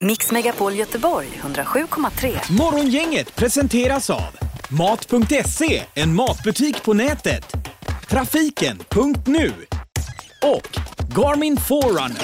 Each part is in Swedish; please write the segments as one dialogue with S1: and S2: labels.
S1: Mix Megapol Göteborg 107,3.
S2: Morgongänget presenteras av Mat.se, en matbutik på nätet. Trafiken.nu och Garmin Forerunner.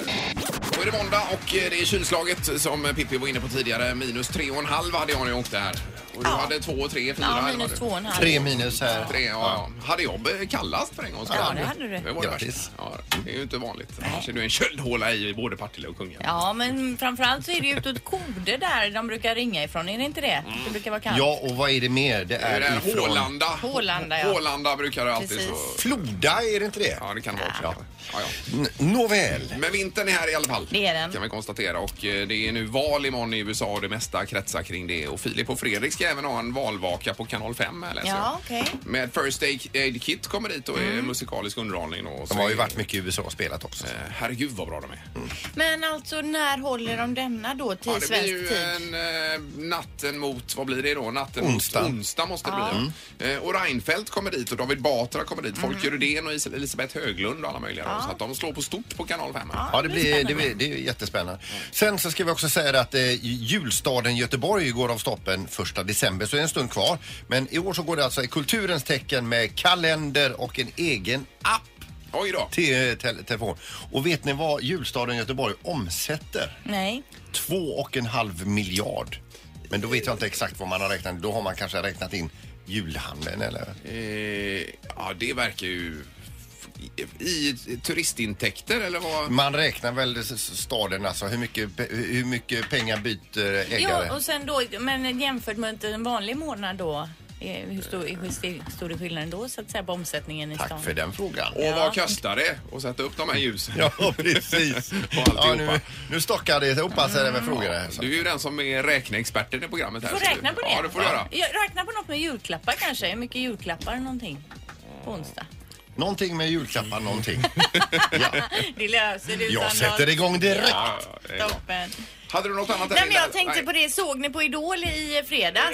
S3: Då är det måndag och eh, det är kylslaget som eh, Pippi var inne på tidigare. Minus tre och en halv hade jag när jag åkte här. Och du hade två, tre, fyra.
S4: Ja,
S3: eller vad
S4: minus
S3: det-
S4: två och en halv.
S5: Tre minus här.
S3: Tre, ja. ja. Hade jag eh, kallast för en gångs skull?
S4: Ja, det hade du.
S3: Det var det
S5: Grattis.
S3: värsta. Ja, det är ju inte vanligt. Annars är det ju en köldhåla i både Partille och Kungälv.
S4: Ja, men framförallt så är det ju utåt Kode där de brukar ringa ifrån. Är det inte det?
S3: Mm.
S4: Det brukar vara kallt.
S5: Ja, och vad är det mer? Det
S3: Det är
S5: är
S3: den
S5: ifrån...
S3: Hålanda.
S4: Hålanda, ja.
S3: Hålanda brukar det alltid så.
S4: Precis.
S5: Floda, är det inte det?
S3: Ja, det kan det vara också. Ja. Ja, ja.
S5: N- Nåväl.
S3: Men vintern är här i alla fall.
S4: Det är den.
S3: Kan vi konstatera. Och eh, det är nu val imorgon i USA och det mesta kretsar kring det. Och Filip och Fredrik ska även ha en valvaka på kanal 5 här läser jag.
S4: Ja, okej.
S3: Med First Aid, Aid Kit kommer dit och är musikalisk underhållning. Och så
S5: Mm. De har ju
S3: är-
S5: varit mycket i USA och spelat också.
S3: Eh, Herregud vad bra de är.
S4: Men alltså, när håller de denna då till
S3: Ja, det blir
S4: svensk
S3: ju
S4: tid?
S3: en, eh, natten mot, vad blir det då? Natten
S5: Onsdag. Mm.
S3: mot onsdag måste det bli. ja. Eh, och Reinfeldt kommer dit och David Batra kommer dit. Folke
S5: Mm.
S3: Rydén och Is- Elisabeth Höglund och alla möjliga. då. Så att de slår på stort på kanal 5. Ja.
S5: Ja, det, blir, det, blir, det är jättespännande. Sen så ska vi också säga det att eh, julstaden Göteborg går av stoppen 1 december, så det är en stund kvar. Men i år så går det alltså i kulturens tecken med kalender och en egen app
S3: Oj då.
S5: till eh, te- telefon. Och vet ni vad julstaden Göteborg omsätter?
S4: Nej.
S5: Två och en halv miljard. Men då vet jag inte exakt vad man har räknat. Då har man kanske räknat in julhandeln eller?
S3: Eh, ja, det verkar ju... I, i turistintäkter eller vad?
S5: Man räknar väl s- s- staden alltså, hur mycket, pe- hur mycket pengar byter
S3: eh,
S5: ägare?
S4: Ja, och sen då, men jämfört med en vanlig månad då? eh, Hur stor, hur sti- stor är skillnaden då så att säga på omsättningen i stan?
S5: Tack för den frågan.
S3: Och
S4: Ja.
S3: vad kostar det att sätta upp de här ljusen?
S5: Ja, precis.
S3: Och alltihopa.
S5: Ja, nu, nu stockar det ihop sig även frågorna. här, så.
S3: Du är ju den som är räkneexperten i programmet här.
S4: Får
S3: så du-
S4: räkna på det?
S3: Ja, det får du göra.
S4: Ja, räkna på något med julklappar kanske? Hur mycket julklappar någonting? På onsdag.
S5: Någonting med julklappar, någonting.
S4: Det löser du
S5: Jag
S4: utan
S5: sätter
S4: något.
S5: igång direkt.
S3: Ja, ja, det är bra.
S4: Toppen.
S3: Hade du något annat?
S4: Nej, men jag
S3: Linda?
S4: tänkte
S3: Nej.
S4: på det. Såg ni på Idol i fredags?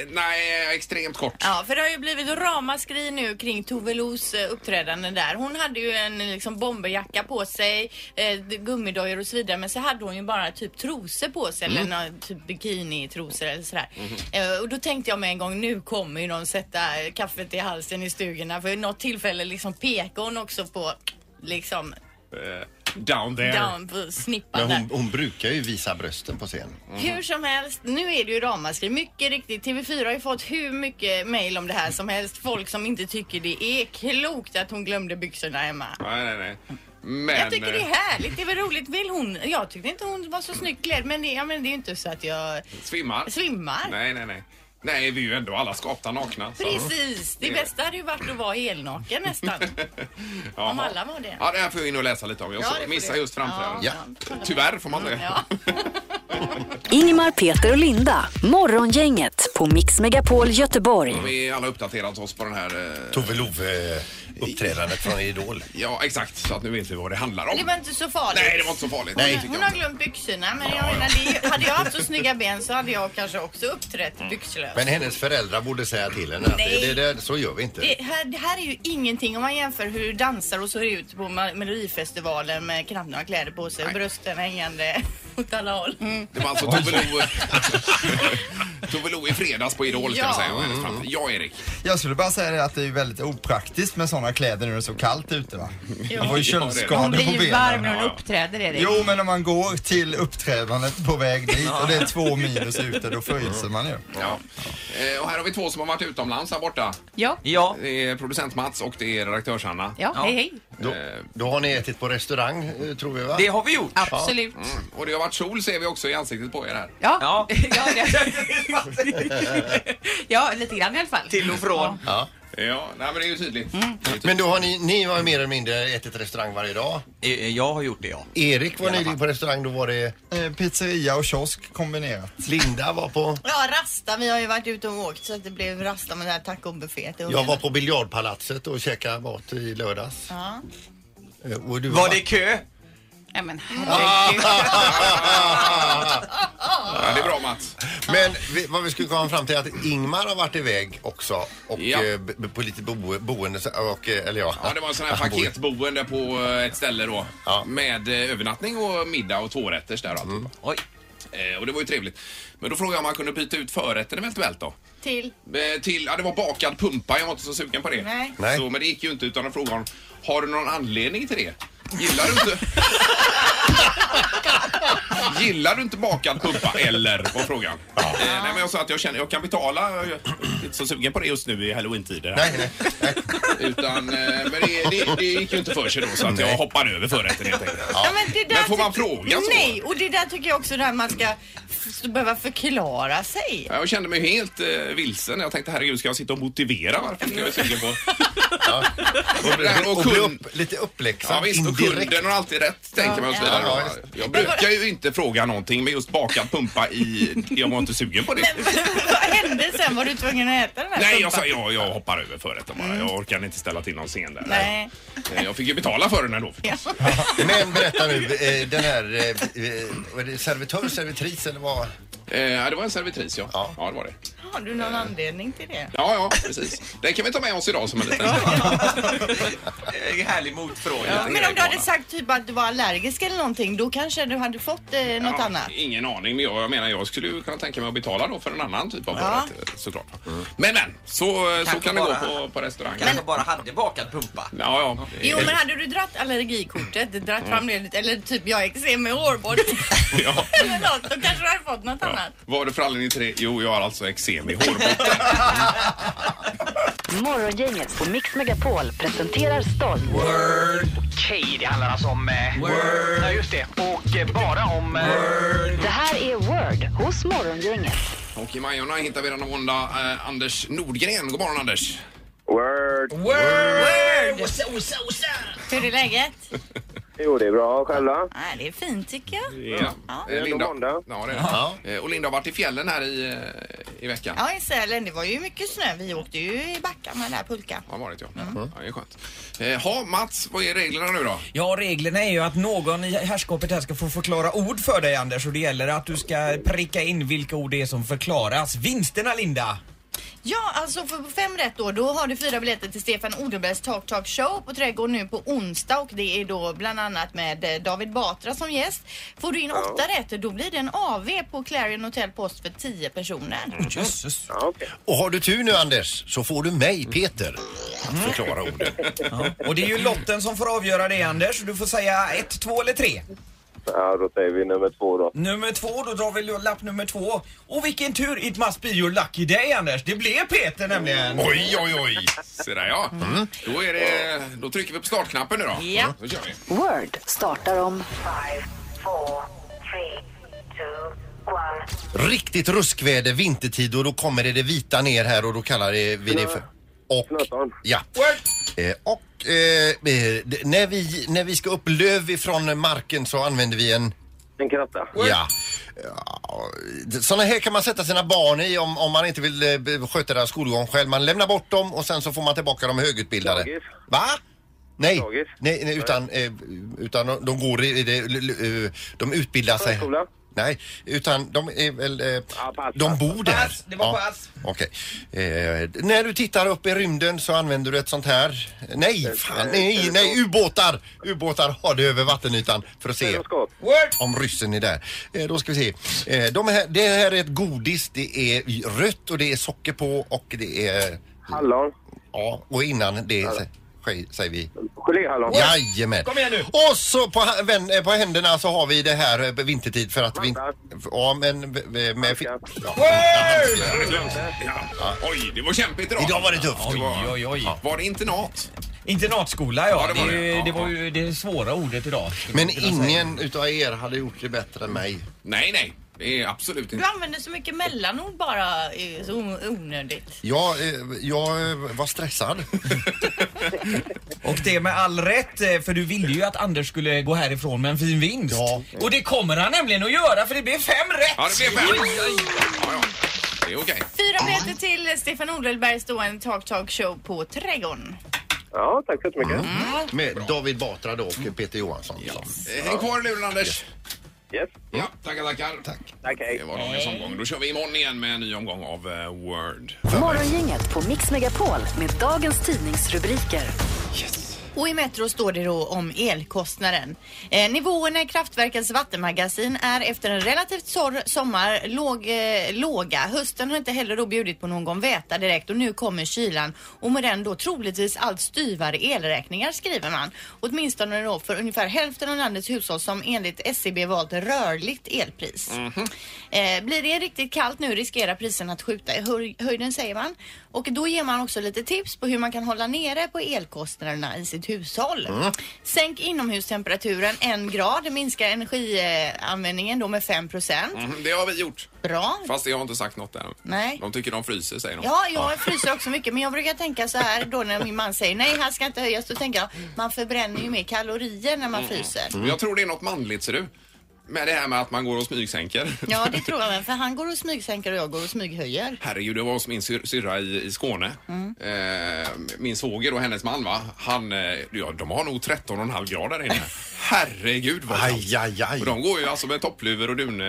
S3: Eh, Nej, extremt kort.
S4: Ja, för det har ju blivit ramaskri nu kring Tove Los eh, uppträdande där. Hon hade ju en eh, liksom bomberjacka på sig, eh, gummidojor och så vidare. Men så hade hon ju bara typ trosor på sig eller någon typ bikinitrosor eller sådär.
S6: Mm-hmm.
S4: Eh, och då tänkte jag med en gång, nu kommer ju de sätta eh, kaffet i halsen i stugorna. För i något tillfälle liksom pekade hon också på liksom
S3: Eh, down there.
S4: down på snippan
S5: Men
S4: där.
S5: hon, hon brukar ju visa brösten på scen.
S4: Mm.
S3: Mhm.
S4: Hur som helst, nu är det ju ramaskri. Mycket riktigt, TV4 har ju fått hur mycket mejl om det här som helst. Folk som inte tycker det är klokt att hon glömde byxorna hemma.
S3: Nej, nej, nej. Men,
S4: Jag tycker det
S3: eh,
S4: är härligt, det är väl roligt. Vill hon? Jag tyckte inte hon var så snyggt klädd men det, ja, men det är ju inte så att jag
S3: eh, Svimmar?
S4: svimmar.
S3: Nej, nej, nej. Nej, vi är ju ändå alla skapta nakna. så-
S4: Precis, det bästa hade ju varit att vara helnaken nästan.
S3: Jaha.
S4: om alla var det.
S3: Ja, det här får jag in och läsa lite om. Jag
S4: Ja, det får
S3: missar
S4: du.
S3: just framträdandet.
S5: Ja.
S3: Tyvärr får man det.
S4: Ja.
S1: Ingemar, Peter och Linda. Morgongänget på Mix Megapol
S7: Mm.
S1: Göteborg.
S3: Vi har alla uppdaterat oss på den här... eh,
S5: Tove Love-uppträdandet från Idol.
S3: Ja, exakt. Så att nu vet vi vad det handlar om.
S4: Det var inte så farligt.
S3: Nej, det var inte så farligt.
S5: Nej.
S3: Det tycker
S4: Hon
S3: jag
S4: har
S3: inte.
S4: glömt byxorna men jag menar, det, hade jag haft så snygga ben så hade jag kanske också uppträtt byxlös.
S5: Men hennes föräldrar borde säga till henne att
S4: Nej.
S5: det, det, det, så gör vi inte.
S4: Det här, det här är ju ingenting om man jämför hur du dansar och ser ut på Ma- Melodifestivalen med knappt några kläder på sig och brösten hängande åt alla håll.
S3: Det var alltså Tove Lo... Tove Lo i fredags på Idol, ska vi
S4: Ja.
S3: säga. och hennes framträdande. Ja, Erik.
S8: Jag skulle bara säga det att det är väldigt opraktiskt med sådana kläder när det är så kallt ute va. Man får ju
S3: Ja, det är det.
S8: köldskador på benen.
S3: hon
S4: uppträder är det.
S8: Jo men om man går till uppträdandet på väg dit och det är två minus ute då fryser man ju.
S3: Ja. Eh, Och här har vi två som har varit utomlands här borta.
S7: Ja.
S9: Ja.
S3: Det är producent Mats och det är Eh. redaktörs-Hanna.
S7: Ja, hej hej.
S5: Då, då har ni ätit på restaurang, eh, tror vi va?
S9: Det har vi gjort.
S7: Absolut.
S3: Mm. Och det har varit sol ser vi också i ansiktet på er här.
S7: Ja,
S9: Ja.
S7: ja, det- ja lite grann i alla fall.
S9: Till och från.
S5: Ja.
S3: Ja, nej, men det är ju tydligt.
S4: Mm.
S5: Men då har ni, ni har ju mer eller mindre ätit restaurang varje dag.
S9: Eh, Jag har gjort det, ja.
S5: Erik var nyligen på restaurang, då var det
S8: Eh, Pizzeria och kiosk kombinerat.
S5: Linda var på,
S4: Ja, rasta. Vi har ju varit ute och åkt så att det blev rasta med det här tacobufféet. i
S5: jag
S4: ugnen.
S5: var på biljardpalatset och käkade mat i lördags.
S4: Ja.
S5: Eh, Och du
S9: Var det kö?
S7: Nej men herregud.
S3: Ja, det är bra annat.
S5: Men vi, vad vi skulle komma fram till är att Ingmar har varit iväg också och
S3: Ja.
S5: eh, b- b- på lite bo, boende så- och, eh, eller ja.
S3: Ja, det var en sån här
S5: Han bor-
S3: paketboende på eh, ett ställe då.
S5: Ja. Mm.
S3: Med eh, övernattning och middag och tvårätters där och alltihopa.
S9: Oj.
S3: Eh, Och det var ju trevligt. Men då frågade jag om man kunde byta ut förrätten eventuellt då.
S4: Till?
S3: Eh, Till, ja det var bakad pumpa, jag var inte så sugen på det.
S4: Nej.
S5: Nej.
S3: Så, men det gick ju inte utan att fråga honom, har du någon anledning till det? Gillar du inte... Gillar du inte bakad pumpa eller? var frågan. Eh, nej, men jag sa att jag känner, jag kan betala, jag är inte så sugen på det just nu i halloween-tider.
S5: Nej, nej, nej.
S3: Utan, eh, men det, det, det gick ju inte för sig då så att jag hoppade över förrätten helt enkelt.
S4: Ja, men, det där
S3: Men får man
S4: tycker-
S3: fråga så?
S4: Nej, och det där tycker jag också där man ska f- behöva förklara sig.
S3: Ja, Jag kände mig helt eh, vilsen. Jag tänkte herregud, ska jag sitta och motivera varför jag är sugen på...
S5: Och, bli-
S3: Det här och
S5: och bli
S3: kund-
S5: upp, lite uppläxad
S3: Ja, visst, och
S5: indirekt.
S3: kunden har alltid rätt tänker man och så vidare.
S5: Ja, ja, visst.
S3: Jag brukar ju inte fråga någonting med just bakad pumpa i... Jag var inte sugen på det.
S4: Vad hände sen? Var du tvungen att äta den här
S3: Nej, jag
S4: soppan?
S3: sa jag, jag hoppar över förrätten bara. Jag orkar inte ställa till någon scen där.
S4: Nej.
S3: Eh, Jag fick ju betala för den ändå. förstås.
S5: Men berätta nu, eh, den här eh, eh, vad är det, servitör, servitris eller vad?
S3: Eh, Ja, det var en servitris ja.
S5: Ja.
S3: Ja, det var det.
S4: Har du någon anledning till det?
S3: Ja, ja, precis. Den kan vi ta med oss idag som en liten...
S9: Eh, Härlig motfråga.
S3: Ja,
S4: Men om du hade sagt typ att du var allergisk eller någonting, då kanske du hade fått eh, något
S3: Ja,
S4: annat.
S3: Ingen aning, men jag, jag menar jag skulle ju kunna tänka mig att betala då för en annan typ av förrätt eh, såklart. Men men, så, eh, så
S9: Kanske
S3: kan det gå
S9: bara-
S3: på, på restaurang.
S9: Kanske bara hade bakad pumpa.
S3: Ja, ja.
S4: Jo, men hade du dratt allergikortet, dratt fram det lite, eller typ jag har eksem i hårvård
S3: ja.
S4: eller något, då kanske du hade fått något
S3: Ja.
S4: annat.
S3: Vad har du för anledning till det? Jo, jag har alltså eksem i hårbotten.
S1: Morgongänget på Mix Megapol presenterar stolt.
S10: Okej, det handlar alltså om... Eh, Word. Ja, just det. Och eh, bara om... Eh,
S1: Det här är Word hos Morgongänget.
S3: Och i Majorna hittar vi denna måndag eh, Anders Nordgren. God morgon Anders!
S11: Word.
S4: Hur är läget?
S11: Jo, det är bra. Själva?
S4: Nej, det är fint tycker jag.
S3: Ja.
S11: Det är ändå måndag.
S3: Eh, Ja, det är det. Eh, Och Linda har varit i fjällen här i, eh, i veckan.
S4: Ja, i Sälen. Det var ju mycket snö. Vi åkte ju i backarna där, pulka.
S3: Har varit ja.
S4: Mm.
S3: Mm. ja. Det är skönt. Eh, ha, Mats, vad är reglerna nu då?
S12: Ja, reglerna är ju att någon i herrskapet här ska få förklara ord för dig Anders och det gäller att du ska pricka in vilka ord det är som förklaras. Vinsterna Linda!
S4: Ja, alltså för fem rätt då, då har du fyra biljetter till Stefan Odenbergs Talk Talk Show på Trädgården nu på onsdag och det är då bland annat med eh, David Batra som gäst. Får du in åtta rätt då blir det en AV på Clarion Hotel Post för tio
S12: Mm.
S4: personer.
S12: Jösses.
S11: Ja, okej.
S5: Och har du tur nu Anders så får du mig Peter att förklara orden.
S12: Mm. Och det är ju lotten som får avgöra det Anders. Du får säga ett, två eller tre.
S11: Ja, då säger vi nummer två då.
S12: Nummer två, då drar vi lapp nummer två. Och vilken tur, it must be your lucky day Anders. Det blev Peter nämligen.
S3: Oj, oj, oj! Se där ja. Då, är det, då trycker vi på startknappen nu då.
S4: Mm. Ja.
S3: Då kör vi.
S1: Word startar om
S5: Riktigt ruskväder, vintertid och då kommer det det vita ner här och då kallar det vi det för... Och...
S11: Snöton.
S5: Ja. Eh, och eh, eh, d- när, vi, när vi ska upp löv ifrån marken så använder vi en...
S11: En kratta.
S5: Ja. Sådana här kan man sätta sina barn i om, om man inte vill eh, b- sköta deras skolgång själv. Man lämnar bort dem och sen så får man tillbaka de högutbildade.
S11: Dagis.
S5: Va? Nej,
S11: Dagis.
S5: nej, nej utan, eh, utan de- de går i- i det, l- l- eh, de utbildar sig.
S11: Förskola?
S5: Nej, utan de är väl... eh,
S11: pass,
S5: de
S11: pass.
S5: bor där.
S12: Pass, det var
S5: ja.
S12: pass.
S5: Okej. Eh, när du tittar upp i rymden så använder du ett sånt här... Nej, fan, nej, nej, ubåtar! Ubåtar har det över vattenytan för att se
S11: Skott.
S5: om ryssen är där. Eh, då ska vi se. Eh, de här, det här är ett godis. Det är rött och det är socker på och det är...
S11: Hallon.
S5: Ja, och innan det sä- ske- säger vi
S11: Geléhallon.
S5: jajamän.
S12: Kom igen nu.
S5: Och så på, ha- vän- eh, på händerna så har vi det här eh, vintertid för att vi...
S11: Vantar.
S5: Ja, men... v- v- Med, fi-
S11: Handskar.
S5: ja.
S3: Ja. Oj, det var kämpigt idag.
S5: Idag var det tufft.
S12: Oj, oj, oj.
S3: Var det internat?
S12: Internatskola ja.
S3: Ja, det var
S12: det, är ju-
S3: det. Ja.
S12: det var ju det svåra ordet idag. skulle
S5: Men
S12: man kunna säga.
S5: ingen utav er hade gjort det bättre än mig.
S3: Nej, nej. Det är absolut
S4: Du
S3: inte.
S4: använder så mycket mellanord bara, eh, så o- onödigt.
S5: Jag, eh, jag eh, var stressad.
S12: Och det med all rätt, eh, för du ville ju att Anders skulle gå härifrån med en fin vinst.
S5: Ja.
S12: Och det kommer han nämligen att göra för det blev fem rätt!
S3: Ja, det blev fem. Ja, ja. Det är okej.
S4: Fyra biljetter till Stefan Odelbergs då en Talk Talk Show på Trädgården.
S11: Ja, tack så
S3: Mm.
S11: mycket.
S5: Mm. Med David Batra då och Peter Johansson. Liksom.
S3: Eh, Häng kvar i luren, Anders.
S11: Yes.
S3: Ja, tackar, tackar. Tack.
S11: Tack, hej.
S3: Det var dagens omgång. Då kör vi imorgon igen med en ny omgång av eh, Word.
S1: Morgongänget på Mix Megapol med dagens tidningsrubriker.
S4: Och i Metro står det då om elkostnaden. Eh, nivåerna i kraftverkens vattenmagasin är efter en relativt torr sommar låg, eh, låga. Hösten har inte heller då bjudit på någon väta direkt och nu kommer kylan och med den då troligtvis allt styvare elräkningar skriver man. Åtminstone då för ungefär hälften av landets hushåll som enligt SCB valt rörligt elpris.
S1: Mm.
S3: Mhm.
S4: Eh, blir det riktigt kallt nu riskerar priserna att skjuta i hö- höjden säger man. Och då ger man också lite tips på hur man kan hålla nere på elkostnaderna i sitt hushåll.
S3: Mm.
S4: Sänk inomhustemperaturen en grad, minska energianvändningen då med 5 procent.
S3: Mhm, det har vi gjort.
S4: Bra.
S3: Fast jag har inte sagt något än.
S4: Nej.
S3: De tycker de fryser, säger de.
S4: Ja, jag fryser också mycket men jag brukar tänka så här då när min man säger nej, här ska inte höjas. Då tänker jag, man förbränner ju mer kalorier när man fryser.
S3: Mm. Jag tror det är något manligt, ser du. Med det här med att man går och smygsänker.
S4: Ja, det tror jag men för han går och smygsänker och jag går och smyghöjer.
S3: Herregud, det var hos min syr- syrra i, i Skåne.
S4: Mm.
S3: Eh, min svåger och hennes man, va? Han, eh, ja, de har nog 13,5 grader där inne. Herregud vad aj,
S5: aj, aj.
S3: Och de går ju alltså med toppluver och dun,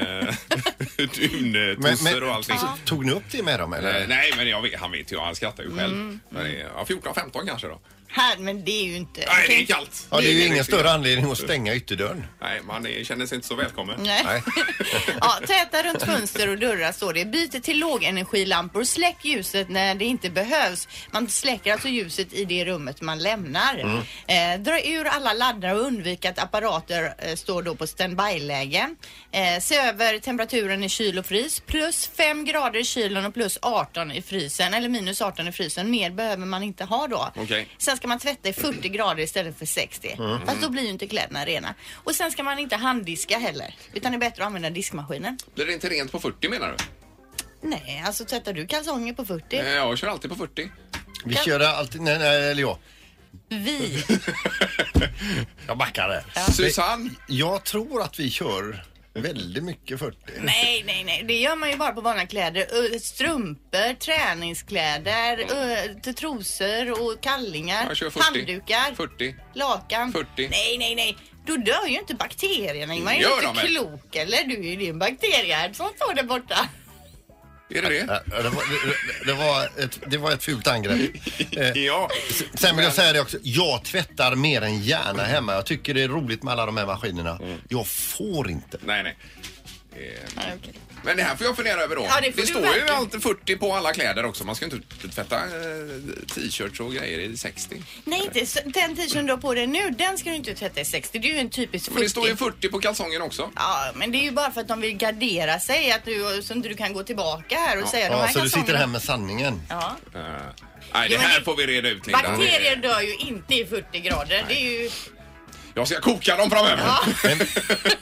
S3: duntussor och allting.
S5: Tog ni upp det med dem eller?
S3: Eh, nej, men jag vet, han vet ju, han skrattar ju själv.
S4: Mm,
S3: Men det är- Ja, 14-15 kanske då.
S4: Här, men det är ju inte...
S3: Nej, det är kallt.
S5: Ja, det är ju ingen
S3: riktigt
S5: större
S3: kallt.
S5: anledning att stänga ytterdörren.
S3: Nej, man är, känner sig inte så välkommen.
S4: Nej. Ja, täta runt fönster och dörrar står det. Byt till lågenergilampor. Släck ljuset när det inte behövs. Man släcker alltså ljuset i det rummet man lämnar. Eh, dra ur alla laddare och undvik att apparater eh, står då på standby-läge. Eh, se över temperaturen i kyl och frys. Plus 5 grader i kylen och plus 18 i frysen. Eller minus 18 i frysen. Mer behöver man inte ha då.
S3: Okej.
S4: Sen ska man tvätta i 40 grader istället för 60.
S3: Mm.
S4: Fast då blir ju inte kläderna rena. Och sen ska man inte handdiska heller. Utan det är bättre att använda diskmaskinen.
S3: Blir det inte rent på 40 menar du?
S4: Nej, alltså tvättar du kalsonger på 40?
S3: Eh, Jag kör alltid på 40.
S5: Vi kör alltid, nej, nej eller jag.
S4: Vi.
S5: Jag backar det.
S3: Susanne?
S5: Jag tror att vi kör väldigt mycket 40.
S4: Nej, nej, nej. Det gör man ju bara på vanliga kläder. Ö, Strumpor, träningskläder, ö, t- trosor och kallingar.
S3: Jag kör 40.
S4: Handdukar.
S3: 40.
S4: Lakan.
S3: 40.
S4: Nej, nej, nej. Då dör ju inte bakterierna Ingmar. Är
S3: Gör
S4: du
S3: de
S4: inte
S3: väl?
S4: klok eller? Du är ju din bakteriehärd som står där borta.
S3: Är det det?
S5: Det var, det, det, var ett, det var ett fult angrepp. Eh,
S3: ja.
S5: Sen vill jag säga det också. Jag tvättar mer än gärna hemma. Jag tycker det är roligt med alla de här maskinerna. Jag får inte.
S3: Mm. Nej, nej. Eh, Men det här får jag fundera över då.
S4: Ja, det får du
S3: står ju
S4: verkligen.
S3: alltid 40 på alla kläder också. Man ska inte tvätta eh, t-shirts och grejer i 60.
S4: Nej, inte så- den t-shirten du har på dig nu, den ska du inte tvätta i 60. Det är ju en typisk 40.
S3: Men det står ju 40 på kalsongen också.
S4: Ja, men det är ju bara för att de vill gardera sig att du, så inte du kan gå tillbaka här och säga de
S5: Ja,
S4: här
S5: så du
S4: kalsongerna-
S5: sitter här med sanningen.
S4: Ja.
S3: Eh, nej, det
S4: Jo, men
S3: här
S4: det-
S3: får vi reda ut Linda.
S4: Bakterier dör ju inte i 40 grader. Det är ju...
S3: Jag ska koka dem framöver.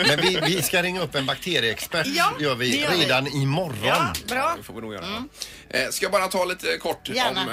S5: Men vi, vi ska ringa upp en bakterieexpert
S4: Ja,
S5: gör
S4: det
S5: vi
S4: gör vi.
S5: redan imorgon.
S4: Ja, bra.
S3: Det får vi nog göra. Eh, Ska jag bara ta lite kort
S4: Gärna.
S3: om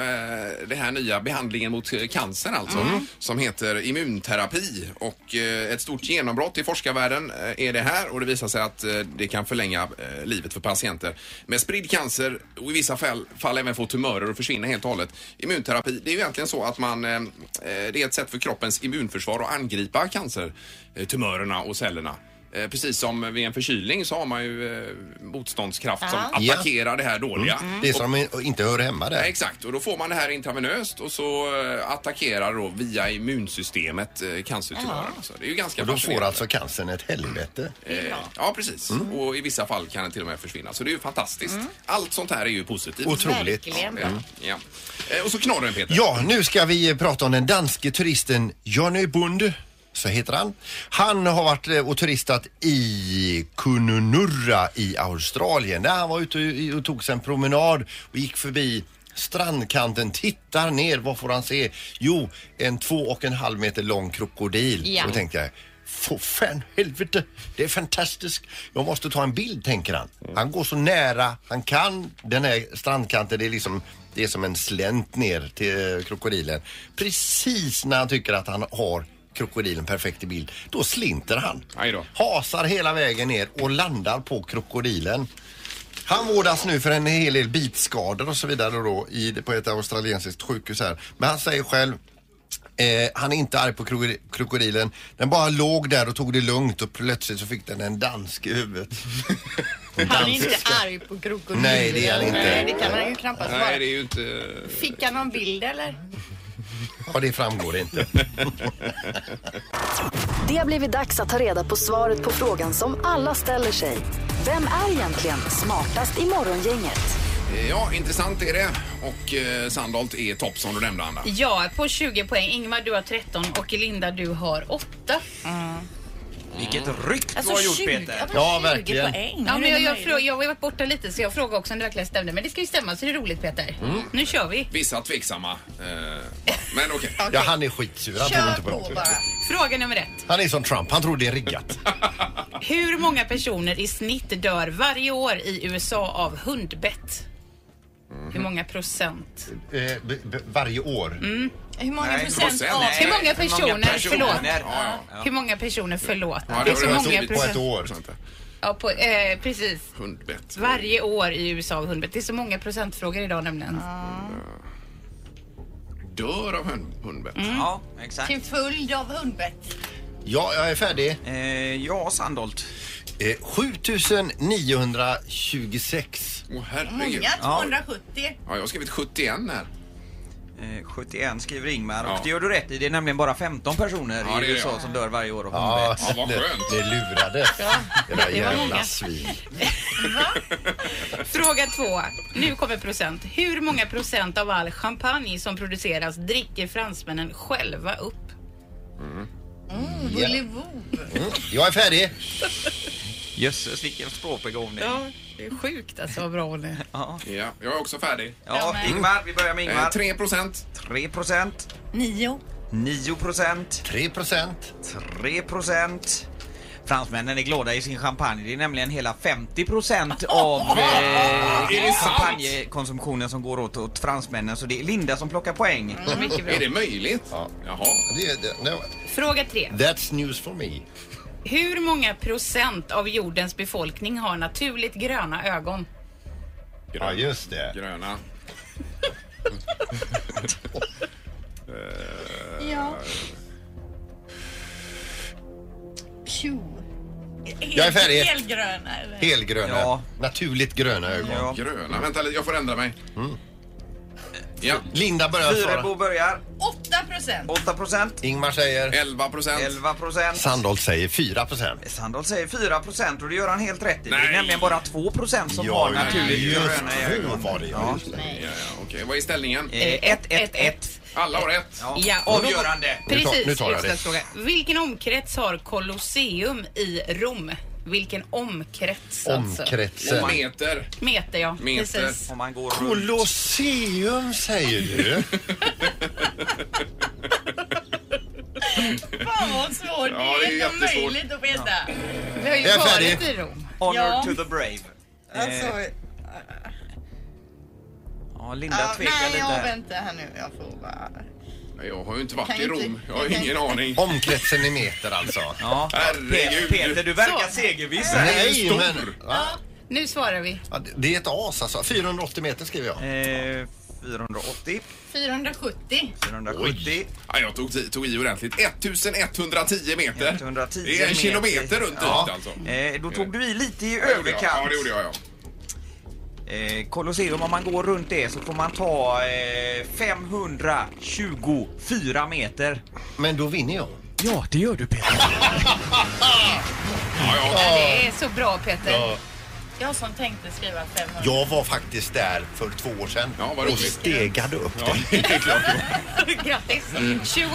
S3: eh, det här nya behandlingen mot eh, cancer alltså. Som heter immunterapi. Och eh, ett stort genombrott i forskarvärlden eh, är det här. Och det visar sig att eh, det kan förlänga eh, livet för patienter med spridd cancer och i vissa fall, fall även få tumörer och försvinna helt och hållet. Immunterapi, det är ju egentligen så att man, eh, eh, det är ett sätt för kroppens immunförsvar att angripa cancer, eh, tumörerna och cellerna. Eh, Precis som vid en förkylning så har man ju eh, motståndskraft som
S5: Ja. Ja.
S3: attackerar det här dåliga.
S5: Mm. Det är så de i- inte hör hemma
S3: Ja,
S5: där.
S3: exakt, och då får man det här intravenöst och så eh, attackerar då via immunsystemet eh, cancertumören.
S5: Ja.
S3: Så det är ju ganska
S5: Och då får
S3: fascinerande.
S5: alltså cancern ett helvete.
S3: Eh, Ja, precis.
S5: Mm.
S3: Och i vissa fall kan den till och med försvinna. Så det är ju fantastiskt.
S7: Mm.
S3: Allt sånt här är ju positivt.
S5: Otroligt. Mm.
S3: Ja,
S5: Verkligen.
S3: ja, ja. Eh, Och så knorren, Peter.
S5: Ja, nu ska vi eh, prata om den danske turisten Johnny Bund. Så heter han. Han har varit eh, och turistat i Kununurra i Australien. Där han var ute och- och tog sig en promenad och gick förbi strandkanten, tittar ner. Vad får han se? Jo, en två och en halv meter lång krokodil.
S13: Ja.
S5: Och tänkte jag, för fan helvete, det är fantastiskt. Jag måste ta en bild, tänker han. Han går så nära han kan den här strandkanten. Det är liksom det är som en slänt ner till eh, krokodilen. Precis när han tycker att han har krokodilen perfekt i bild, då slinter han. Hasar hela vägen ner och landar på krokodilen. Han vårdas nu för en hel del bitskador och så vidare då i, på ett australiensiskt sjukhus här. Men han säger själv Eh, han är inte arg på krokodi- krokodilen. Den bara låg där och tog det lugnt och plötsligt så fick den en dansk i huvudet.
S4: Han är inte arg på krokodilen.
S5: Nej, det är han inte.
S4: Nej, det kan han ju knappast vara.
S3: Nej, det är ju inte...
S4: Fick han någon bild eller?
S5: Ja, det framgår inte.
S1: Det har blivit dags att ta reda på svaret på frågan som alla ställer sig. Vem är egentligen smartast i Morgongänget?
S3: Eh, Ja, intressant är det. Och eh, Sandholt är topp som du nämnde, Anna.
S7: Ja, på 20 poäng. Ingmar, du har 13 och Linda, du har 8.
S9: Vilket ryck
S7: Alltså,
S9: du har gjort
S7: 20
S9: Peter.
S7: Ja,
S9: verkligen.
S7: Ja,
S4: Hur
S7: men
S4: är
S7: jag,
S4: det
S7: jag,
S4: möjligt?
S7: frå- jag har ju varit borta lite så jag frågade också om det verkligen stämde. Men det ska ju stämma så det är roligt Peter.
S3: Mm.
S7: Nu kör vi.
S3: Vissa tveksamma. Eh, men okej.
S5: Ja, han är skitsur. Han tror inte på något.
S7: Fråga nummer ett.
S5: Han är som Trump. Han tror det är riggat.
S7: Hur många personer i snitt dör varje år i USA av hundbett? Hur många procent?
S5: Eh, b- b- varje år.
S7: Mm. Hur
S5: många Nej, procent procent. av-
S7: Hur många
S5: Nej,
S7: personer,
S5: hur många personer?
S7: förlåt.
S5: Ja, ja, ja.
S7: Hur många personer, förlåt.
S5: Ja,
S7: det
S5: det
S7: är så
S5: var
S7: många
S5: roligt på ett år.
S7: Ja, på, eh, precis.
S3: Hundbett.
S7: Varje år i USA av hundbett. Det är så många procentfrågor idag nämligen.
S3: Dör av hund, hundbett.
S7: Mm.
S9: Ja, exakt.
S4: Till följd av hundbett.
S5: Ja, jag är färdig.
S9: Eh,
S5: Eh,
S9: ja, Sandholt.
S5: 7926.
S3: Åh,
S4: Många, 270.
S3: Ja, jag har skrivit 71 här.
S9: Eh, 71 skriver Ingmar och
S3: Ja.
S9: det gör du rätt i. Det är nämligen bara 15 personer
S3: Ja, det är
S9: i
S3: det,
S9: USA
S3: ja.
S9: som dör varje år av
S5: Ja,
S9: hundbett.
S5: ja, vad det- skönt. det lurade.
S7: Ja,
S5: Era
S7: det var
S5: jävla
S7: många.
S5: svin.
S7: Fråga två. Nu kommer procent. Hur många procent av all champagne som produceras dricker fransmännen själva upp?
S4: Mm,
S5: Ja.
S4: Volvo.
S5: Mm, jag är färdig.
S9: Jösses, vilken språkbegåvning.
S7: Ja, det är sjukt alltså vad bra hon är.
S9: Ja.
S3: ja, jag är också färdig.
S9: Ja, Ingmar, vi börjar med Ingmar.
S3: Eh, 3 procent.
S9: 3 procent.
S4: 9.
S9: 9 procent.
S5: 3 procent.
S9: 3 procent. Fransmännen är glada i sin champagne. Det är nämligen hela 50 procent av
S3: Är det
S9: eh,
S3: sant?
S9: champagnekonsumtionen som går åt, åt fransmännen. Så det är Linda som plockar poäng.
S7: Mm, mycket bra. Är det
S3: möjligt?
S5: Ja.
S3: Jaha.
S5: Det, det, no.
S7: Fråga tre.
S5: That's news for me.
S7: Hur många procent av jordens befolkning har naturligt gröna ögon?
S5: Ja, just det.
S3: Gröna.
S4: Ja. 20.
S5: Jag är färdig.
S4: Helgröna. eller?
S5: Helgröna. Naturligt gröna ögon. Mm.
S3: Ja. Gröna. Vänta lite, jag får ändra mig. Ja.
S5: Linda börjar svara.
S9: Fyrebo börjar.
S4: 8 procent.
S9: 8 procent.
S5: Ingmar säger.
S3: 11 procent.
S9: 11 procent.
S5: Sandholt säger 4 procent.
S9: Sandholt säger 4 procent och det gör han helt rätt i. Det är nämligen bara 2 procent som
S5: Ja,
S9: har
S5: ja,
S9: naturligt
S5: just
S9: gröna
S5: det.
S9: ögon.
S5: Var det,
S9: Ja.
S3: Ja, ja, okej. Vad är ställningen?
S9: Eh, ett, ett, ett.
S3: Alla har rätt.
S7: Ja,
S3: och
S7: och-
S3: nu gör han det.
S7: Precis, utslagsfråga. Vilken omkrets har Colosseum i Rom? Vilken omkrets
S5: Omkretsen.
S7: alltså?
S3: Meter.
S7: Meter ja,
S5: Meter.
S7: precis.
S9: Om man går
S5: Colosseum säger du.
S4: Fan vad svårt.
S9: Ja,
S4: det
S9: det
S4: är
S9: är
S4: inte
S9: jättesvårt.
S4: möjligt att veta.
S7: Vi har ju
S9: Jag är
S7: varit
S9: färdig.
S7: i Rom.
S9: Honor
S4: Ja.
S9: to the brave. Eh,
S4: Alltså,
S9: ja,
S4: ja,
S9: Linda tvekar
S4: nej,
S9: lite
S4: jag
S9: här.
S4: väntar här nu. Jag får bara...
S3: Jag har ju inte
S4: Kan
S3: varit i
S4: inte-
S3: Rom. Jag har
S4: kan
S3: ingen
S4: inte-
S3: aning.
S5: Omkretsen i meter alltså.
S9: Ja.
S3: Herregud.
S9: Peter, du verkar segerviss. här.
S5: Nej,
S9: Stor.
S5: men... Va?
S7: Nu svarar vi.
S5: Ja, det- det är ett as alltså. 480 meter skriver jag.
S9: Eh, 480,
S4: 470.
S9: 470,
S3: Ja, jag tog, ti- tog i ordentligt. 1110 meter.
S9: 110
S3: det är en
S9: meter.
S3: kilometer runt
S9: Ja.
S3: ytan alltså.
S9: Eh, då tog du i lite i
S3: Ja, det gjorde jag.
S9: överkant.
S3: Ja, det gjorde jag. Ja.
S9: Eh, Colosseum, om man går runt det så får man ta eh, 524 meter.
S5: Men då vinner jag.
S9: Ja, det gör du Peter.
S7: Ja, det är så bra Peter.
S5: Ja.
S4: Jag som tänkte skriva 500.
S5: Jag var faktiskt där för två år sedan
S3: Ja, vad
S5: och
S3: roligt.
S5: stegade upp
S3: Ja,
S5: det.
S3: det är klart.
S7: Grattis! 21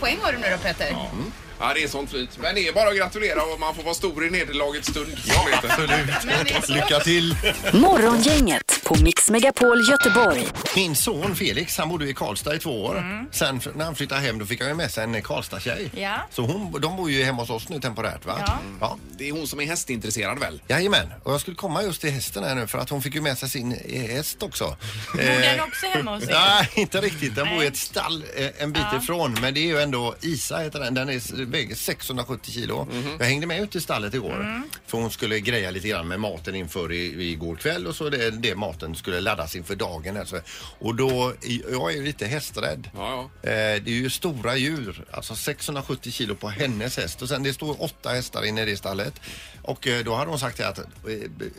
S7: poäng var det nu då Peter.
S3: Ja, Mm. det är sånt flyt. Men det är bara att gratulera och man får vara stor i nederlagets stund. Ja,
S5: absolut. Lycka till!
S1: Morgongänget på Mix Megapol Göteborg.
S5: Min son Felix, han bodde i Karlstad i två år. Sen f- när han flyttade hem då fick han ju med sig en Karlstad-tjej.
S4: Ja.
S5: Så hon, de bor ju hemma hos oss nu temporärt va? Mm.
S4: Ja.
S5: ja.
S3: Det är hon som är hästintresserad väl?
S5: Jajamän, och jag skulle komma just till hästen här nu för att hon fick ju med sig sin eh, häst också. Bor
S4: den också hemma hos er?
S5: Nej, inte riktigt. Den bor i
S4: Nej.
S5: ett stall eh, en bit ifrån men det är ju ändå Isa heter den. Den är s- väger 670 kilo.
S3: Mhm.
S5: Jag hängde med ut i stallet igår.
S4: Mm.
S5: För hon skulle greja lite grann med maten inför i, igår kväll och så det, det maten skulle laddas inför dagen. Alltså. Och då, jag är lite hästrädd. Eh, det är ju stora djur, alltså 670 kilo på hennes häst och sen det står åtta hästar inne i det stallet. Och eh, då hade hon sagt att eh,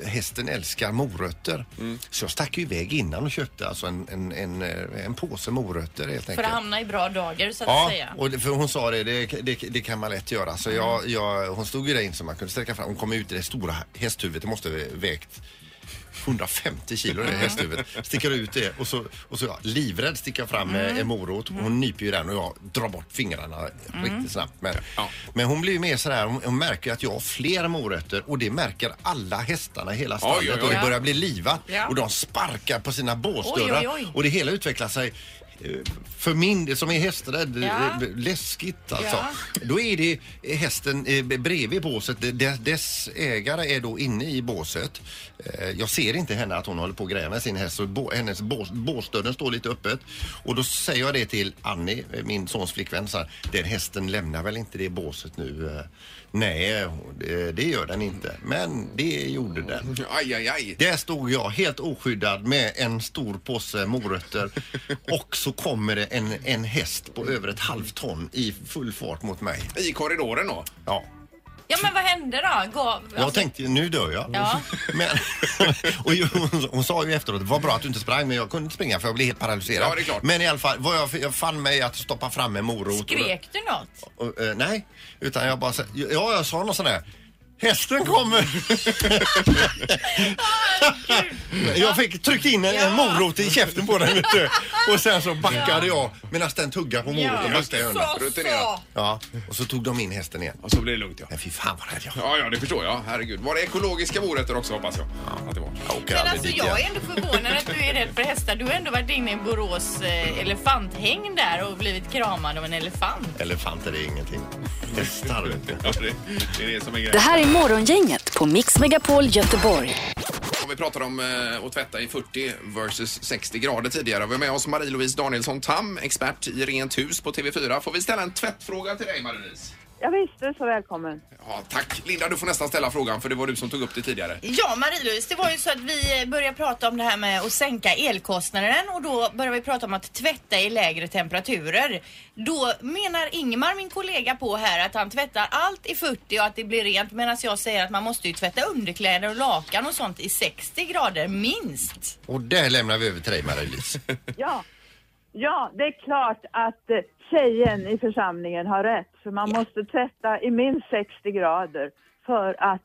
S5: hästen älskar morötter. Så jag stack ju iväg innan och köpte alltså en, en, en, eh, en påse morötter helt
S4: För
S5: enkelt.
S4: att hamna i bra dagar så att
S5: Ja,
S4: säga.
S5: och det, för hon sa det det, det, det kan man lätt göra. Så jag,
S13: Mm.
S5: jag, hon stod ju där in så man kunde sträcka fram. Hon kom ut i det stora hästhuvudet. Det måste ha vägt 150 kilo det hästhuvudet. Sticker ut det och så, och så ja, livrädd sticker jag fram
S13: Mm.
S5: eh, en morot. Hon nyper ju den och jag drar bort fingrarna
S13: Mm.
S5: riktigt snabbt. Men, men hon blir ju mer sådär, hon, hon märker ju att jag har fler morötter och det märker alla hästarna i hela stallet.
S13: Oj, oj, oj.
S5: Och det börjar
S13: Ja.
S5: bli livat
S13: Ja.
S5: och de sparkar på sina båsdörrar.
S13: Oj, oj, oj.
S5: Och det hela utvecklar sig eh, för min del som är hästrädd,
S13: Ja.
S5: eh, läskigt alltså.
S13: Ja.
S5: Då är det hästen eh, bredvid båset. Dess, dess ägare är då inne i båset. Eh, Jag ser inte henne att hon håller på och grejer med sin häst. Så bå, hennes bås, båsdörren står lite öppet. Och då säger jag det till Annie, eh, min sons flickvän. Så här, den hästen lämnar väl inte det båset nu? Eh, Nej, det, det gör den inte. Men det gjorde den.
S3: Aj, aj, aj.
S5: Där stod jag helt oskyddad med en stor påse morötter och så kommer det en, en häst på över ett halvt ton i full fart mot mig.
S3: I korridoren då?
S5: Ja.
S4: Ja men vad hände då? Gav,
S5: Jag
S3: Alltså-
S5: tänkte nu dör jag.
S4: Ja.
S5: Men, och ju- hon, hon sa ju efteråt, vad bra att du inte sprang men jag kunde inte springa för jag blev helt paralyserad.
S3: Ja, det är klart.
S5: Men i alla fall, vad jag, jag fann mig att stoppa fram en morot.
S4: Skrek du något?
S5: Och, eh, nej, utan jag bara sa, ja jag sa något sån där. Hästen kommer! jag fick tryckt in en, en morot i käften på den vet du. Och sen så backade jag medan den tuggade på moroten.
S3: Ja.
S5: backade jag undan.
S3: Så, så. Rutinerat.
S5: Ja, och så tog de in hästen igen.
S3: Och så blev det lugnt ja.
S5: Men fy fan vad rädd jag
S3: Ja, ja, det förstår jag. Herregud. Var det ekologiska morötter också hoppas jag? Att det var.
S4: Men alltså jag är ändå förvånad att du är rädd för hästar. Du har ändå varit inne i Borås eh, elefanthäng där och blivit kramad av en elefant.
S5: Elefanter är ingenting. Hästar vet du.
S3: Det är det som är grejen.
S1: Det här är Morgongänget på Mix Megapol Göteborg.
S3: Och vi pratade om eh, att tvätta i 40 versus 60 grader tidigare. Vi har med oss Marie-Louise Danielsson Tam, expert i Rent hus på TV4. Får vi ställa en tvättfråga till dig Marie-Louise?
S14: Ja, visst, du är så välkommen.
S3: Ja, tack. Linda, du får nästan ställa frågan för det var du som tog upp det tidigare.
S4: Ja, Marie-Louise, det var ju så att vi eh, började prata om det här med att sänka elkostnaden och då började vi prata om att tvätta i lägre temperaturer. Då menar Ingmar, min kollega, på här att han tvättar allt i 40 och att det blir rent medan jag säger att man måste ju tvätta underkläder och lakan och sånt i 60 grader minst.
S3: Mm,
S5: Och där lämnar vi över till dig Marie-Louise.
S14: Ja. ja, det är klart att eh, tjejen i församlingen har rätt. För man måste tvätta i minst 60 grader för att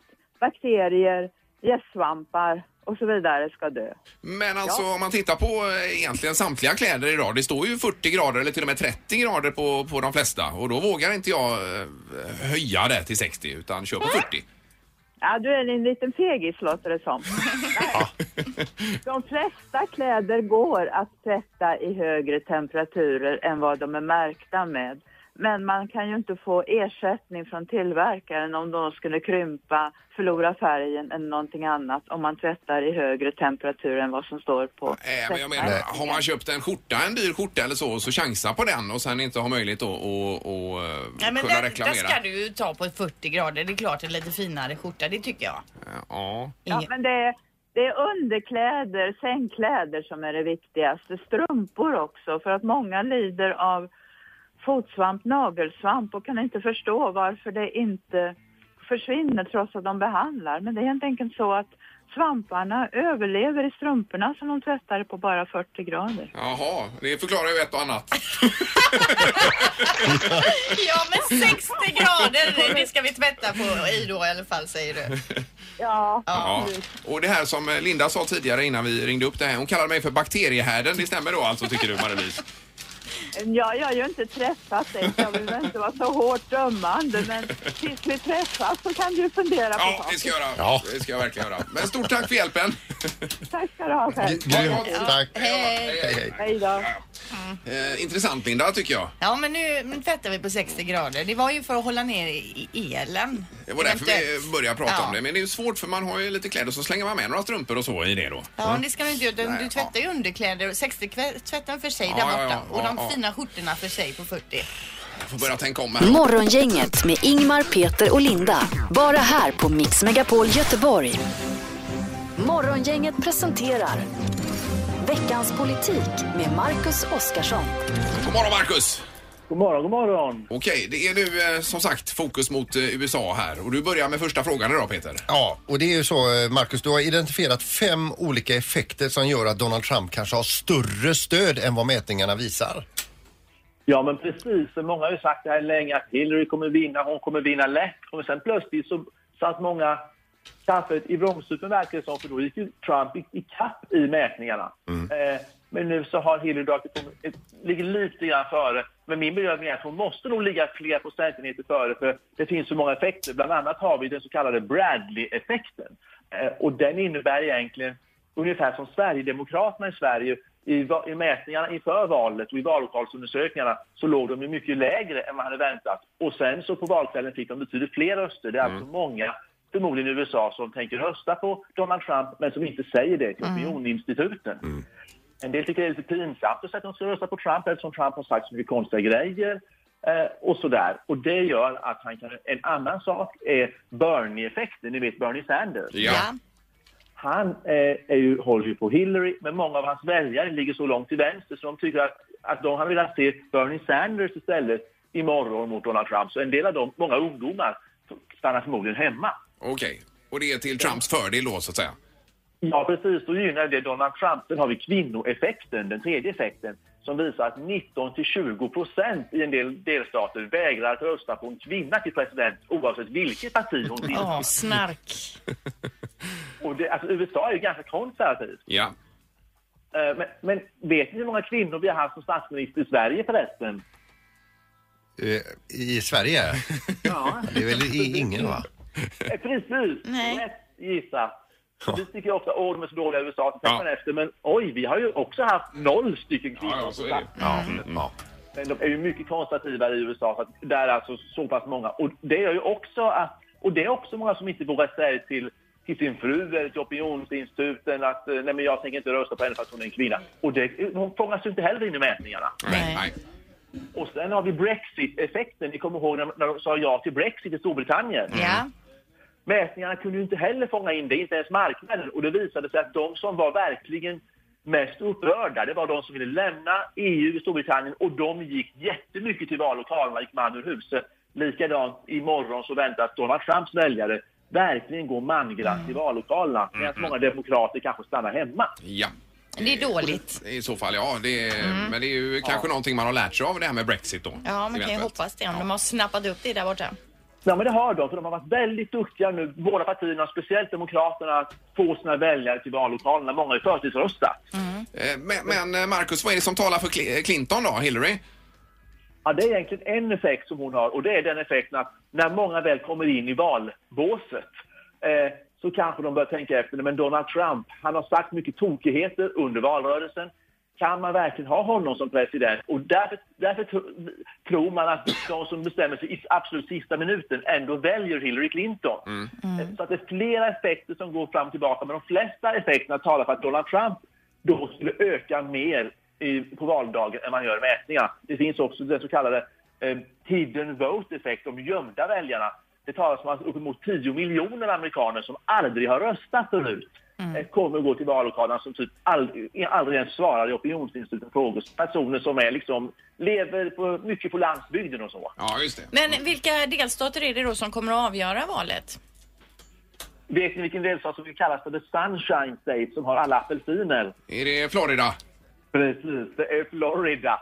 S14: bakterier, gästsvampar och så vidare ska dö.
S3: Men alltså om man tittar på eh, egentligen samtliga kläder idag. Det står ju 40 grader eller till och med 30 grader på, på de flesta. Och då vågar inte jag eh, höja det till 60 utan kör på 40.
S14: Ja, du är en liten fegis låter det som. Nej. De flesta kläder går att tvätta i högre temperaturer än vad de är märkta med. Men man kan ju inte få ersättning från tillverkaren om de skulle krympa, förlora färgen eller någonting annat om man tvättar i högre temperatur än vad som står på
S3: Nej, men jag menar, har man köpt en skjorta, en dyr skjorta eller så, och så chansa på den och sen inte ha möjlighet att och, och, eh,
S4: Nej, men
S3: kunna
S4: där, där
S3: reklamera.
S4: ska du ju ta på 40 grader. Det är klart en lite finare skjorta, det tycker jag.
S3: Ja.
S14: Ja, men det är, det är underkläder, sängkläder som är det viktigaste. Strumpor också, för att många lider av fotsvamp, nagelsvamp och kan inte förstå varför det inte försvinner trots att de behandlar. Men det är helt enkelt så att svamparna överlever i strumporna som de tvättar på bara 40 grader.
S3: Jaha, det förklarar ju ett och annat.
S4: Ja, men 60 grader, det ska vi tvätta på i då i alla fall, säger du.
S14: Ja.
S3: Ja. Och det här som Linda sa tidigare innan vi ringde upp det här, hon kallade mig för bakteriehärden. Det stämmer då alltså tycker du Marie-Louise?
S14: Ja, jag har ju inte träffat dig, så jag vill väl inte vara så hårt dömande, men tills vi träffas så kan du fundera på
S3: Ja, det ska jag göra. Ja. Det ska jag verkligen göra. Men stort tack för hjälpen.
S14: Tack ska du ha själv.
S3: Grymt, Ja. tack.
S4: Hej.
S14: Hej då.
S3: Eh, intressant Linda tycker jag.
S4: Ja, men nu nu tvättar vi på 60 grader. Det var ju för att hålla ner i- i elen.
S3: Det var därför vi
S4: Eventuellt.
S3: började prata
S4: Ja.
S3: om det. Men det är ju svårt för man har ju lite kläder så slänger man med några strumpor och så i det då. Mm.
S4: Ja, det ska du inte göra. utan
S3: Nej,
S4: Du tvättar ju underkläder, 60 kvä- tvätten för sig
S3: Ja,
S4: där
S3: ja,
S4: borta
S3: ja,
S4: och
S3: ja,
S4: de
S3: ja.
S4: fina skjortorna för sig på 40.
S3: Får börja tänka om här.
S1: Morgongänget med Ingmar, Peter och Linda. Bara här på Mix Megapol Göteborg. Morgongänget presenterar Veckans politik med Marcus Oskarsson.
S3: God morgon Marcus!
S13: God morgon, god morgon.
S3: Okej, det är nu eh, som sagt fokus mot eh, USA här och du börjar med första frågan idag Peter.
S5: Ja, och det är ju så eh, Marcus, du har identifierat fem olika effekter som gör att Donald Trump kanske har större stöd än vad mätningarna visar.
S13: Ja, men precis. För Många har ju sagt det här länge att Hillary kommer vinna, hon kommer vinna lätt. Och sen plötsligt så satt många kaffet i vrångstrupen verkar det som, för då gick ju Trump i, i kapp i mätningarna. Eh, men nu så har Hillary dragit på, eh, ligger lite grann före. Men min bedömning är att hon måste nog ligga flera procentenheter före för det finns så många effekter. Bland annat har vi den så kallade Bradley-effekten. Eh, och den innebär egentligen ungefär som Sverigedemokraterna i Sverige i, va- i mätningarna inför valet och i vallokalsundersökningarna så låg de ju mycket lägre än man hade väntat. Och sen så på valkvällen fick de betydligt fler röster. Det är alltså många, förmodligen i USA, som tänker rösta på Donald Trump men som inte säger det till opinioninstituten. En del tycker det är lite pinsamt att säga att de ska rösta på Trump eftersom Trump har sagt så mycket konstiga grejer. Eh, och sådär. Och det gör att han kan... En annan sak är Bernie-effekten. Ni vet Bernie Sanders.
S3: Ja.
S13: Han eh, är ju, håller ju på Hillary, men många av hans väljare ligger så långt till vänster så de tycker att, att de hade velat se Bernie Sanders istället imorgon mot Donald Trump. Så en del av dem, många ungdomar, stannar förmodligen hemma.
S3: Okej, och det är till Trumps fördel då så att säga.
S13: Ja, precis. Då gynnar det Donald Trump. Sen har vi kvinnoeffekten, den tredje effekten, som visar att 19-20 procent i en del delstater vägrar att rösta på en kvinna till president oavsett vilket parti hon
S4: Ja,
S13: tillhör.
S4: snark.
S13: Och det, alltså, USA är ju ganska konservativt.
S3: Ja.
S13: Eh, Men, men vet ni hur många kvinnor vi har haft som statsminister i Sverige förresten?
S5: Eh, I Sverige?
S13: Ja.
S5: Det är väl i- ingen va?
S13: Eh, Precis! Rätt gissat. Vi tycker ju ofta åh de är så dåliga i USA, så tänker man efter. Men oj, vi har ju också haft noll stycken kvinnor som statsminister.
S5: mm,
S13: Men de är ju mycket konservativare i USA, så att där är alltså så pass många. Och det gör ju också att, och det är också många som inte vågar säga till, till sin fru eller till opinionsinstituten att eh, nej men jag tänker inte rösta på henne för att hon är en kvinna. Och det, hon fångas ju inte heller in i mätningarna.
S3: Nej. Nej.
S13: Och sen har vi Brexit-effekten. Ni kommer ihåg när, när de sa ja till Brexit i Storbritannien?
S4: Ja.
S13: Mätningarna kunde ju inte heller fånga in det, inte ens marknaden. Och det visade sig att de som var verkligen mest upprörda, det var de som ville lämna EU i Storbritannien och de gick jättemycket till vallokalerna, gick man ur huset. Likadant imorgon så väntas Donald Trumps väljare verkligen gå manglatt till vallokalerna medan många demokrater kanske stannar hemma.
S3: Ja.
S4: Det är dåligt.
S3: I så fall, ja. Det är,
S4: Mm.
S3: Men det är ju kanske någonting man har lärt sig av det här med Brexit då.
S4: Ja, man kan ju
S3: eventuellt.
S4: hoppas det om de har snappat upp det där borta.
S13: Ja, men det har de, för de har varit väldigt duktiga nu, båda partierna, speciellt Demokraterna, att få sina väljare till vallokalerna. Många har ju förtidsröstat.
S4: Mm.
S3: Eh, Men, men eh, Marcus, vad är det som talar för Cl- eh, Clinton då, Hillary?
S13: Ja, det är egentligen en effekt som hon har och det är den effekten att när många väl kommer in i valbåset eh, så kanske de börjar tänka efter. Men Donald Trump, han har sagt mycket tokigheter under valrörelsen. Kan man verkligen ha honom som president? Och därför, därför tro- tror man att de som bestämmer sig i absolut sista minuten ändå väljer Hillary Clinton. Så att det är flera effekter som går fram och tillbaka, men de flesta effekterna talar för att Donald Trump då skulle öka mer i, på valdagen än man gör i mätningar. Det finns också den så kallade eh, hidden vote-effekt, de gömda väljarna. Det talas om att uppemot 10 miljoner amerikaner som aldrig har röstat förut eh, kommer att gå till vallokalerna som typ aldrig, aldrig ens svarar i opinionsinstitutens frågor. Personer som är liksom, lever på, mycket på landsbygden och så.
S3: Ja, just det.
S4: Men vilka delstater är det då som kommer att avgöra valet?
S13: Vet ni vilken delstat som kallas för The Sunshine State som har alla apelsiner?
S3: Är det Florida?
S13: Precis, det är Florida.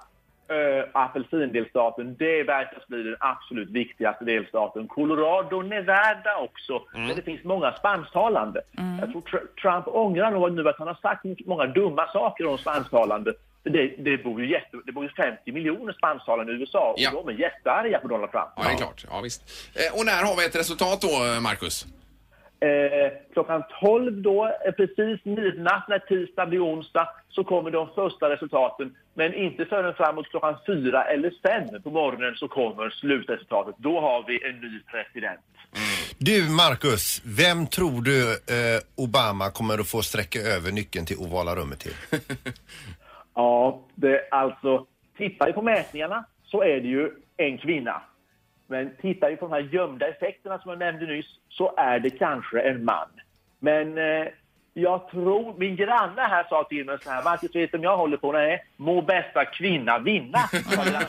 S13: Uh, apelsindelstaten, det verkar bli den absolut viktigaste delstaten. Colorado, Nevada också,
S3: Mm.
S13: men det finns många spansktalande. Jag tror Tr- Trump ångrar nog nu att han har sagt mycket- många dumma saker om spansktalande. För Det, det, bor ju jätte, det bor ju 50 miljoner spansktalande i USA och
S3: Ja.
S13: de är jättearga på Donald Trump.
S3: Ja, det är klart. Ja, visst. Eh, Och när har vi ett resultat då, eh, Marcus?
S13: Eh, klockan 12 då, eh, precis midnatt när tisdag blir onsdag, så kommer de första resultaten. Men inte förrän framåt klockan 4 eller 5 på morgonen så kommer slutresultatet. Då har vi en ny president.
S5: Du Marcus, vem tror du eh, Obama kommer att få sträcka över nyckeln till ovala rummet till?
S13: Ja, det är alltså, tittar vi på mätningarna så är det ju en kvinna. Men tittar vi på de här gömda effekterna som jag nämnde nyss så är det kanske en man. Men eh, jag tror, min granne här sa till mig så här, Marcus vet du om jag håller på, nej, må bästa kvinna vinna. sa grannen.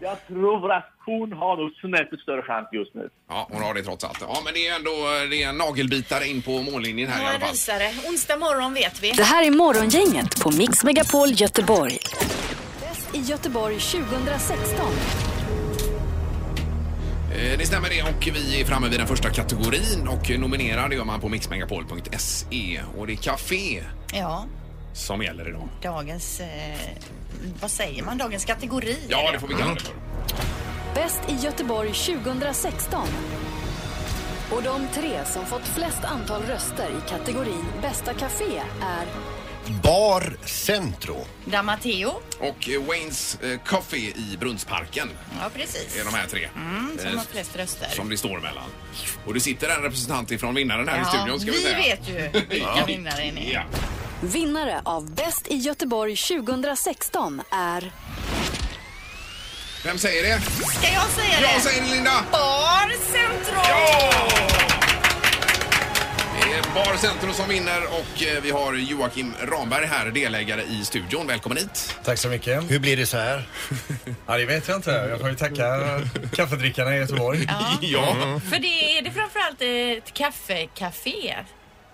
S13: Jag tror att hon har nog snäppet större chans just nu.
S3: Ja, hon har det trots allt. Ja, men det är ändå eh, det är en nagelbitare in på mållinjen här i alla
S4: Några
S3: fall.
S4: rysare. Onsdag morgon vet vi.
S1: Det här är Morgongänget på Mix Megapol Göteborg. Bäst i Göteborg 2016.
S3: Eh, Det stämmer det och vi är framme vid den första kategorin och nominerar det gör man på mixmegapol.se och det är café
S4: Ja,
S3: som gäller idag.
S4: dagens... Eh, vad säger man? Dagens kategori?
S3: Ja, det får vi kalla det för.
S1: Bäst i Göteborg 2016. Och de tre som fått flest antal röster i kategorin Bästa Café är
S5: Bar Centro.
S4: Damateo.
S3: Och eh, Waynes eh, Coffee i Brunnsparken
S4: Ja, precis.
S3: är de här tre.
S4: Mm, som
S3: Eh,
S4: har flest röster.
S3: som det står mellan. Och det sitter en representant ifrån vinnaren här i
S4: Ja,
S3: studion ska vi,
S4: vi
S3: säga.
S4: vet ju vilka
S3: Ja.
S4: vinnaren är.
S3: Ja.
S1: vinnare av Bäst i Göteborg 2016 är
S3: Vem säger det?
S4: Ska jag säga det?
S3: Jag säger det, Linda!
S4: Barcentrum!
S3: Det är Bar Centrum som vinner och eh, vi har Joakim Ramberg här, delägare i studion. Välkommen hit!
S6: Tack så mycket.
S5: Hur blir det så här?
S6: Ja, det vet jag inte. Jag får ju tacka kaffedrickarna i Göteborg.
S4: Ja.
S6: Mm.
S4: För det är det framförallt eh, ett kaffekafé.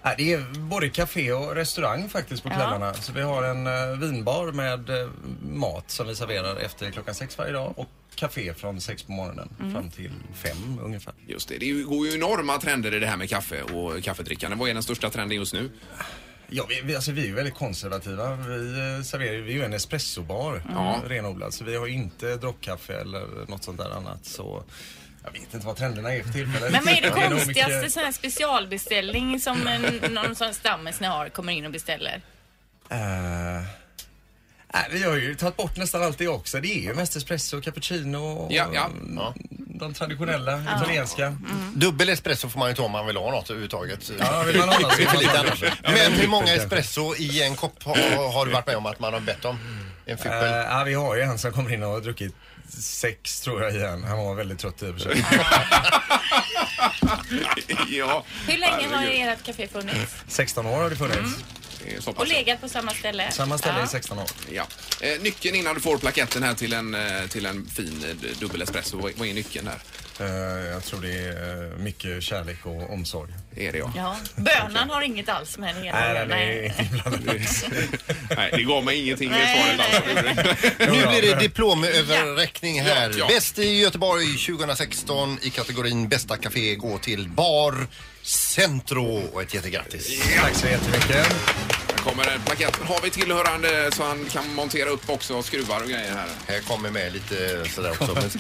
S6: Ja, det är både café och restaurang faktiskt på
S4: Ja.
S6: kvällarna. Så vi har en eh, vinbar med eh, mat som vi serverar efter klockan sex varje dag och café från sex på morgonen
S3: Mm.
S6: fram till fem ungefär.
S3: Just det, det är ju- går ju enorma trender i det här med kaffe och kaffedrickande. Vad är den största trenden just nu?
S6: Ja, vi, vi, alltså, vi är ju väldigt konservativa. Vi eh, serverar ju- vi är ju en espressobar
S3: Ja.
S6: mm. renodlad. Så vi har ju inte droppkaffe eller något sånt där annat. Så jag vet inte vad trenderna är för tillfället.
S4: Men vad är det
S6: nog
S4: konstigaste
S6: mycket-
S4: sån här specialbeställning som en, någon sån stammis ni har kommer in och beställer?
S6: Eh, nej, vi har ju tagit bort nästan allt det också. Det är ju mest espresso, cappuccino och
S5: Ja, ja.
S6: mm, de traditionella italienska.
S5: Dubbel espresso får man ju ta om man vill ha något överhuvudtaget.
S6: Ja, vill man ha något så
S5: Det är för
S6: får man
S5: lite
S6: ta
S5: annars.
S6: det.
S5: Men hur många
S6: Kanske.
S5: espresso i en kopp har, har du varit med om att man har bett om? En
S6: Eh,
S5: fippel?
S6: ja, vi har ju en som kommer in och har druckit sex tror jag igen. Han var väldigt trött i och för sig.
S3: ja.
S4: Hur länge har ert café funnits?
S6: 16 år har det funnits.
S3: Mm. Alltså-
S4: Och legat på samma ställe?
S6: Samma ställe
S4: Ja.
S6: i 16 år.
S3: Ja. Eh, nyckeln innan du får plaketten här till en, eh, till en fin eh, d- dubbel espresso. Vad, vad är nyckeln där?
S6: Eh, jag tror det är eh, mycket kärlek och omsorg.
S3: Är det ja.
S4: Ja. Bönan har inget alls med det hela att
S6: Nej,
S4: göra.
S6: nej,
S4: Nej.
S6: nej.
S3: Nej, det gav mig ingenting det
S4: Nej,
S3: svaret alltså.
S5: Nu blir det diplomöverräckning här.
S3: Ja, ja.
S5: Bäst i Göteborg 2016 i kategorin Bästa Café går till Bar Centro och ett jättegrattis.
S6: Tack så jättemycket.
S3: Här kommer en plakett. Har vi tillhörande så han kan montera upp också skruvar och grejer här?
S5: Här kommer med lite sådär också. Men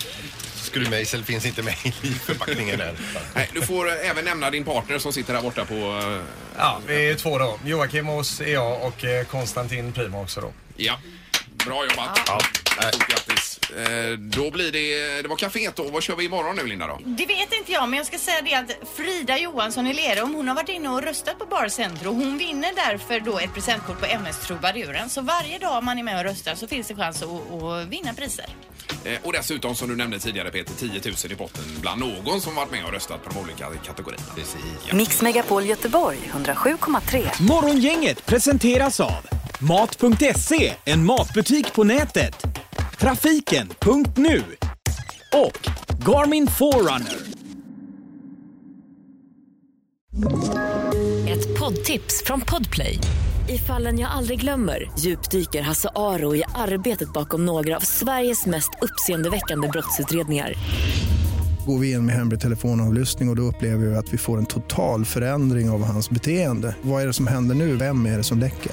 S5: skruvmejsel finns inte med i förpackningen här.
S3: Nej, du får eh, även nämna din partner som sitter här borta på... eh,
S6: Ja, vi är två då. Joakim och oss är jag och eh, Konstantin Prima också då.
S3: Ja. Bra jobbat. Ja. Stort grattis. Eh, Då blir det... Det var kaféet då. Vad kör vi imorgon nu Linda då?
S4: Det vet inte jag, men jag ska säga det att Frida Johansson i Lerum, hon har varit inne och röstat på Barcentro. Hon vinner därför då ett presentkort på MS Trubaduren. Så varje dag man är med och röstar så finns det chans att, att vinna priser.
S3: Eh, Och dessutom som du nämnde tidigare Peter, 10 000 i botten bland någon som varit med och röstat på de olika kategorierna.
S1: Mix Megapol Göteborg 107,3.
S2: Morgongänget presenteras av Mat.se, en matbutik på nätet. Trafiken.nu och Garmin Forerunner.
S15: Ett poddtips från Podplay. I fallen jag aldrig glömmer djupdyker Hasse Aro i arbetet bakom några av Sveriges mest uppseendeväckande brottsutredningar.
S16: Går vi in med hemlig telefonavlyssning och, och då upplever vi att vi får en total förändring av hans beteende. Vad är det som händer nu? Vem är det som läcker?